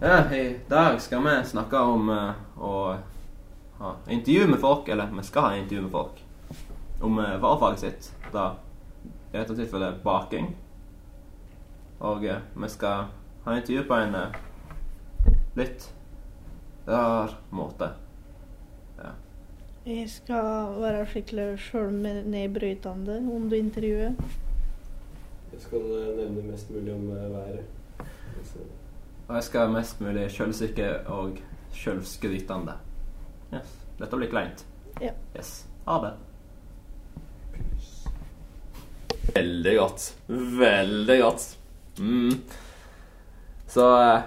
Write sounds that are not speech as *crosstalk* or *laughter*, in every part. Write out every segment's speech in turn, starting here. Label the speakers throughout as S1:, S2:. S1: Ja, I dag skal vi snakke om eh, å ha intervju med folk, eller vi skal ha intervju med folk, om eh, varefaget sitt. Da i dette tilfellet baking. Og eh, vi skal ha intervju på en eh, litt rar måte. Ja.
S2: Jeg skal være skikkelig sjølnedbrytende under intervjuet.
S3: Jeg skal eh, nevne mest mulig om eh, været. Så,
S1: Og jeg skal være mest mulig sjølsikker og sjølskrytende. Yes. Dette blir kleint.
S2: Ja.
S1: Yes. Ha det.
S4: Veldig godt. Veldig godt. Mm. Så eh,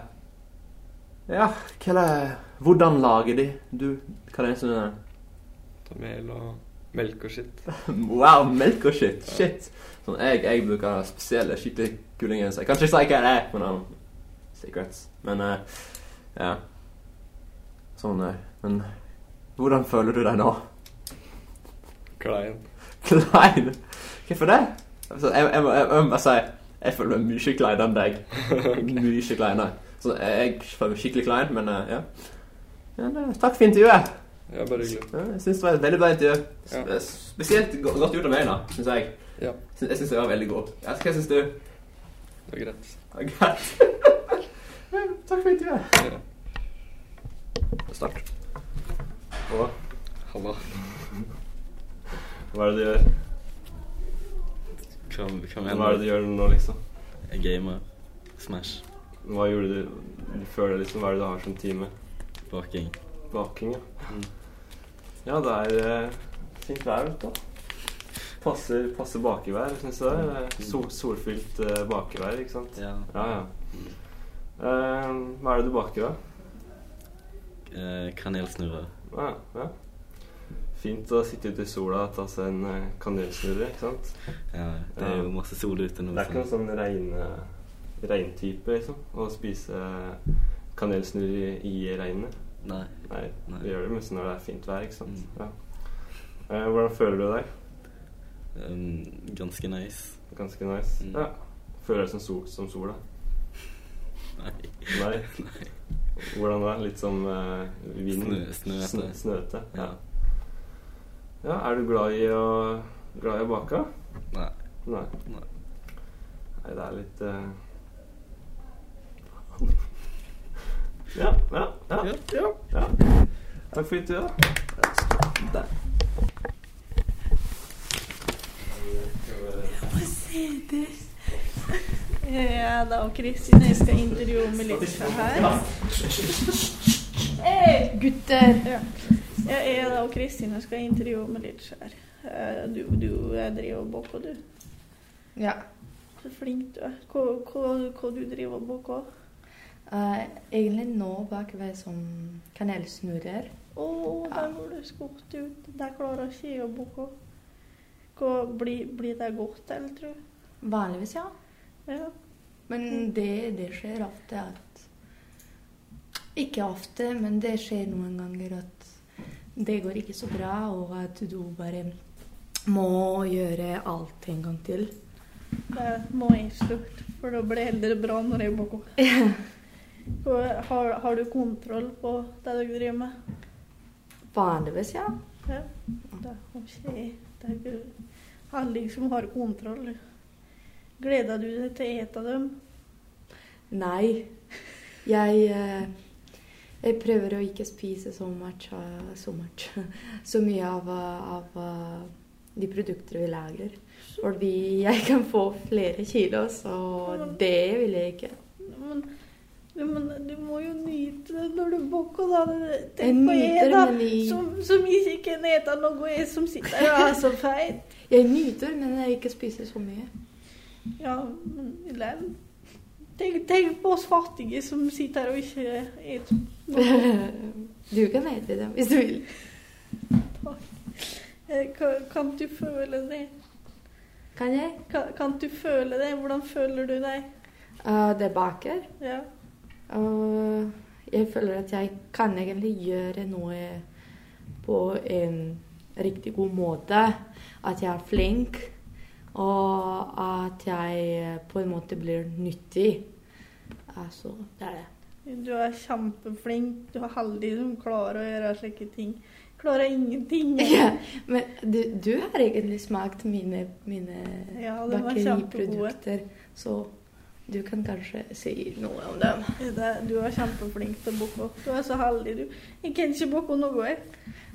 S4: Ja, hva er det Hvordan lager de? Du, hva er det som er
S5: Ta mel og melk og skitt.
S4: Wow, melk og shit. Shit. Sånn, jeg, jeg bruker spesielle, skikkelig kule genser. Jeg kan ikke si hva det er, men um, Secrets. Men eh, ja. Sånn, eh, men Hvordan føler du deg nå? *laughs*
S5: Klein.
S4: Klein? Hvorfor det? Altså, jeg, jeg, må- jeg, jeg må bare si jeg føler meg mye kleinere enn deg. Mye kleinere. Så jeg, jeg føler meg skikkelig klein, men eh, ja. ja det- takk for intervjuet.
S5: Ja, bare hyggelig.
S4: Ja, Jeg syns det var et veldig bra intervju.
S5: Ja.
S4: Sp- Spesielt go- godt gjort av meg, da, syns jeg.
S5: Ja.
S4: Syns- Jeg syns det var veldig godt. Ja, Hva syns du?
S5: Det er greit.
S4: Ja, Greit. Ja, Takk for intervjuet.
S5: Ja.
S4: Start. Og
S5: Halla.
S3: Hva er det du gjør?
S6: Hva, hva
S3: Hva er
S6: mener
S3: det
S6: du?
S3: du gjør nå, liksom?
S6: Jeg gamer. Smash.
S3: Hva gjorde du før det, liksom? Hva er det du har som time?
S6: Baking. Mm.
S3: Baking, ja. Ja, det er eh, fint vær, vet du. Passer, passer bakevær, syns jeg. det er. Sol, solfylt eh, bakevær, ikke sant?
S6: Mm. Ja.
S3: Ja, ja. Eh, hva er det du baker, da?
S6: Eh, kanelsnurrer.
S3: Ja, ja. Fint å sitte ute i sola og ta seg en eh, kanelsnurre, ikke sant?
S6: Ja, det er jo masse sol ute nå.
S3: Det er ikke noen
S6: så-
S3: sånn regne, regntype, liksom. Å spise kanelsnurr i, i regnet.
S6: Nei.
S3: Nei,
S6: Nei.
S3: vi gjør det mest når det er fint vær, ikke sant.
S6: Mm.
S3: Ja. Eh, hvordan føler du deg?
S6: Um, ganske nice.
S3: Ganske nice.
S6: Mm.
S3: Ja. Føler du deg som, sol, som sola?
S6: *laughs* Nei.
S3: Nei. Hvordan da? Litt som eh, vind?
S6: Snø- snøete.
S3: Snø- snøete. Ja.
S6: Ja.
S3: ja. Er du glad i å, glad i å bake?
S6: Nei.
S3: Nei.
S6: Nei.
S3: Nei, det er litt eh, *laughs* ja, ja, ja, ja, ja. Takk for intervjuet. da.
S4: der.
S2: Ja, da og Kristin, jeg skal intervjue Melissa her. Hey, gutter! Ja. Ja, jeg da og Kristin jeg skal intervjue Melissa her. Eh, Du, du eh, driver og baker, du.
S7: Ja.
S2: Så flink du er. Hva, hva, hva du driver og baker?
S7: Eh, egentlig nå baker vi som kanelsnurrer.
S2: Å, der går det skott ut. Der klarer ikke jeg å bake. Hva- Blir blir det godt, eller tror du?
S7: Vanligvis, ja.
S2: Ja.
S7: Men det, det skjer ofte at Ikke ofte, men det skjer noen ganger at det går ikke så bra, og at du bare må gjøre alt en gang til.
S2: Det må jeg slutte, for da blir det heller bra når jeg
S7: *laughs*
S2: baker. Og Har, har du kontroll på det du driver med?
S7: Vanligvis, ja.
S2: Ja. Det har ikke jeg. Det er ikke alle som har kontroll. Gleder du deg til å ete dem?
S7: Nei. Jeg, eh, jeg prøver å ikke spise så much, eh, så, much. *laughs* så mye av, eh, av eh, de produkter vi lager. Fordi jeg kan få flere kilo, så det vil jeg ikke.
S2: Men, du, men du må jo nyte det når du baker, da.
S7: Jeg
S2: Tenk på jeg,
S7: nyter
S2: da.
S7: men jeg-
S2: Som, som ikke kan ete noe, jeg som sitter her og er så feit.
S7: Jeg nyter, men jeg ikke spiser så mye.
S2: Ja, men Len, tenk, tenk på oss fattige som sitter her og ikke eter noe.
S7: Du kan ete dem hvis du vil.
S2: Eh, ka- Kan du føle det?
S7: Kan jeg?
S2: Kan, kan du føle det? Hvordan føler du deg?
S7: Eh, det baker.
S2: Ja.
S7: Og jeg føler at jeg kan egentlig gjøre noe på en riktig god måte. At jeg er flink, og at jeg på en måte blir nyttig. Altså, Ah, det er det.
S2: Du er kjempeflink. Du er heldig som klarer å gjøre slike ting. Klarer ingenting.
S7: *laughs* Ja, men du, du har egentlig smakt mine, mine
S2: Ja, de var kjempegode.
S7: bakeriprodukter, så du kan kanskje si noe om dem.
S2: Det- Du er kjempeflink til å bakke. Du er så heldig, du. Jeg kan ikke bakke noe. jeg.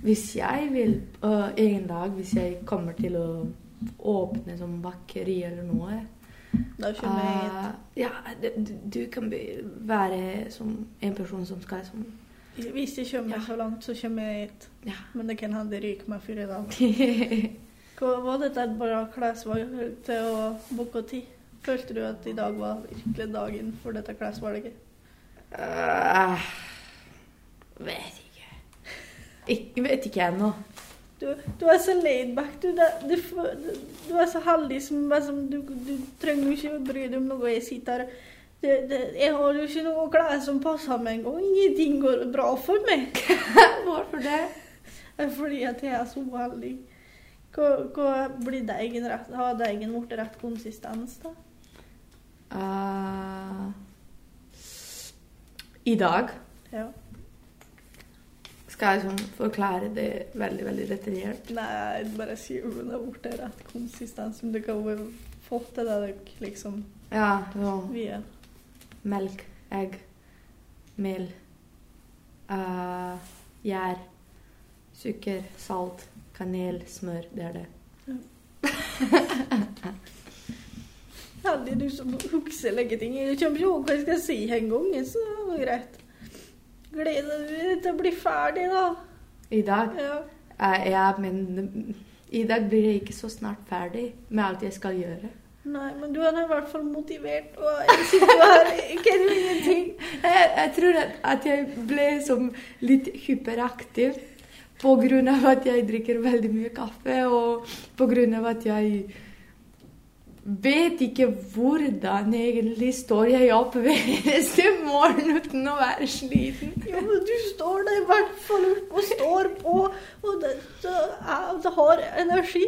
S7: Hvis jeg vil, øh, en dag, hvis jeg kommer til å åpne som bakeri eller noe
S2: Da skjønner jeg
S7: øh, Ja, det- du, du kan bli, være som en person som skal som *laughs*
S2: hit. Hvis jeg kommer
S7: Ja.
S2: så langt, så kommer jeg hit.
S7: Ja.
S2: Men det kan hende det ryker meg før i dag. Hva var dette et bra klesvalg til å bakke til? Følte du at i dag var virkelig dagen for dette klesvalget?
S7: Øh, Vet ikke. ikke. Vet ikke jeg nå.
S2: Du, du er så laidback. Du, det- du, f- du, du er så heldig som, bare som du, du trenger jo ikke å bry deg om noe. Jeg sitter her det, det, Jeg har jo ikke noe klær som passer meg engang. Ingenting går bra for meg.
S7: Hvorfor det?
S2: Det er Fordi at jeg er så uheldig. Hva, hva blir deigen rett? Har deigen blitt rett konsistens, da?
S7: Øh, I dag
S2: Ja.
S7: skal jeg sånn forklare det veldig, veldig detaljert.
S2: Nei, bare si om det har blitt rett konsistens. Men du kan jo få til det du liksom
S7: Ja, sånn.
S2: vil.
S7: Melk, egg, mel, eh, gjær, sukker, salt, kanel, smør. Det er det.
S2: Heldig du som husker slike ting. Jeg kommer ikke ihåg hva jeg skal si engang, så det var greit. Gleder du deg til å bli ferdig, da?
S7: I dag
S2: Ja.
S7: eh, Ja, men i dag blir jeg ikke så snart ferdig med alt jeg skal gjøre.
S2: Nei, men du er nå i hvert fall motivert, og jeg sitter jo her jeg kan jo ingenting.
S7: Jeg, jeg tror at, at jeg ble som litt hyperaktiv på grunn av at jeg drikker veldig mye kaffe, og på grunn av at jeg vet ikke hvordan egentlig står jeg opp hver eneste morgen uten å være sliten.
S2: Jo, men du står der i hvert fall opp og står på, og det, det, er, det har energi.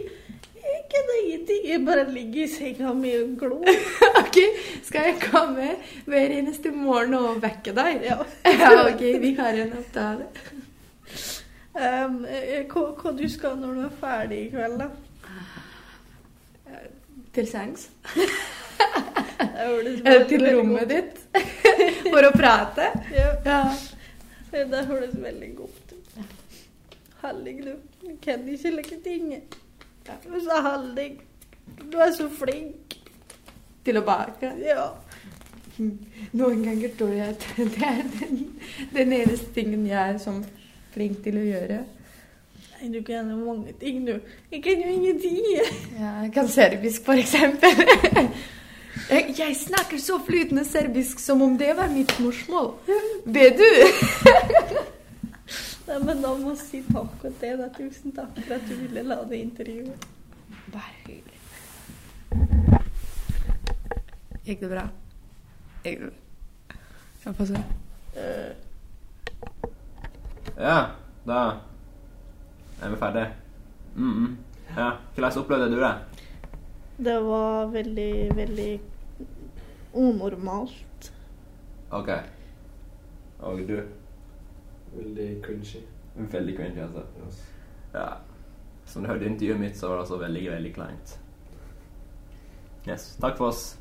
S2: Jeg kan ingenting. Jeg bare ligger i senga mi og glor.
S7: Ok, skal jeg komme hver eneste morgen og vekke deg?
S2: Ja.
S7: Ja, ok, vi har en avtale.
S2: Ehm, eh, hva, hva du skal når du er ferdig i *laughs* kveld, da?
S7: Til sengs.
S2: Det høres
S7: Eller
S2: veldig,
S7: Eh, til
S2: veldig
S7: rommet
S2: godt
S7: ditt. For å prate.
S2: ut. Ja.
S7: Ja.
S2: Ja, Det høres veldig godt ut. Hellig, du. Jeg kan ikke like ting. Du er så heldig. Du er så flink.
S7: Til å bake.
S2: Ja.
S7: Noen ganger tror jeg at *laughs* det er den, den eneste tingen jeg er sånn flink til å gjøre.
S2: Nei, du kan jo mange ting, du. Jeg kan jo ingenting.
S7: Ja, jeg kan serbisk, for eksempel. *laughs* Jeg, jeg snakker så flytende serbisk som om det var mitt morsmål. Be du?
S2: Nei, men da må jeg si takk til deg. da. Tusen takk for at du ville la det intervjuet.
S7: Bare hyggelig. Gikk det bra? Gikk det bra? Jeg får se.
S2: Eh,
S1: Ja, da er vi ferdig. Mm -mm. Ja, Hvordan opplevde du det?
S2: Det var veldig, veldig unormalt.
S1: OK. Og du?
S5: Veldig cringy.
S1: Veldig cringy, altså.
S5: Yes.
S1: Ja. Som du hørte i intervjuet mitt, så var det altså veldig, veldig kleint. Yes. Takk for oss.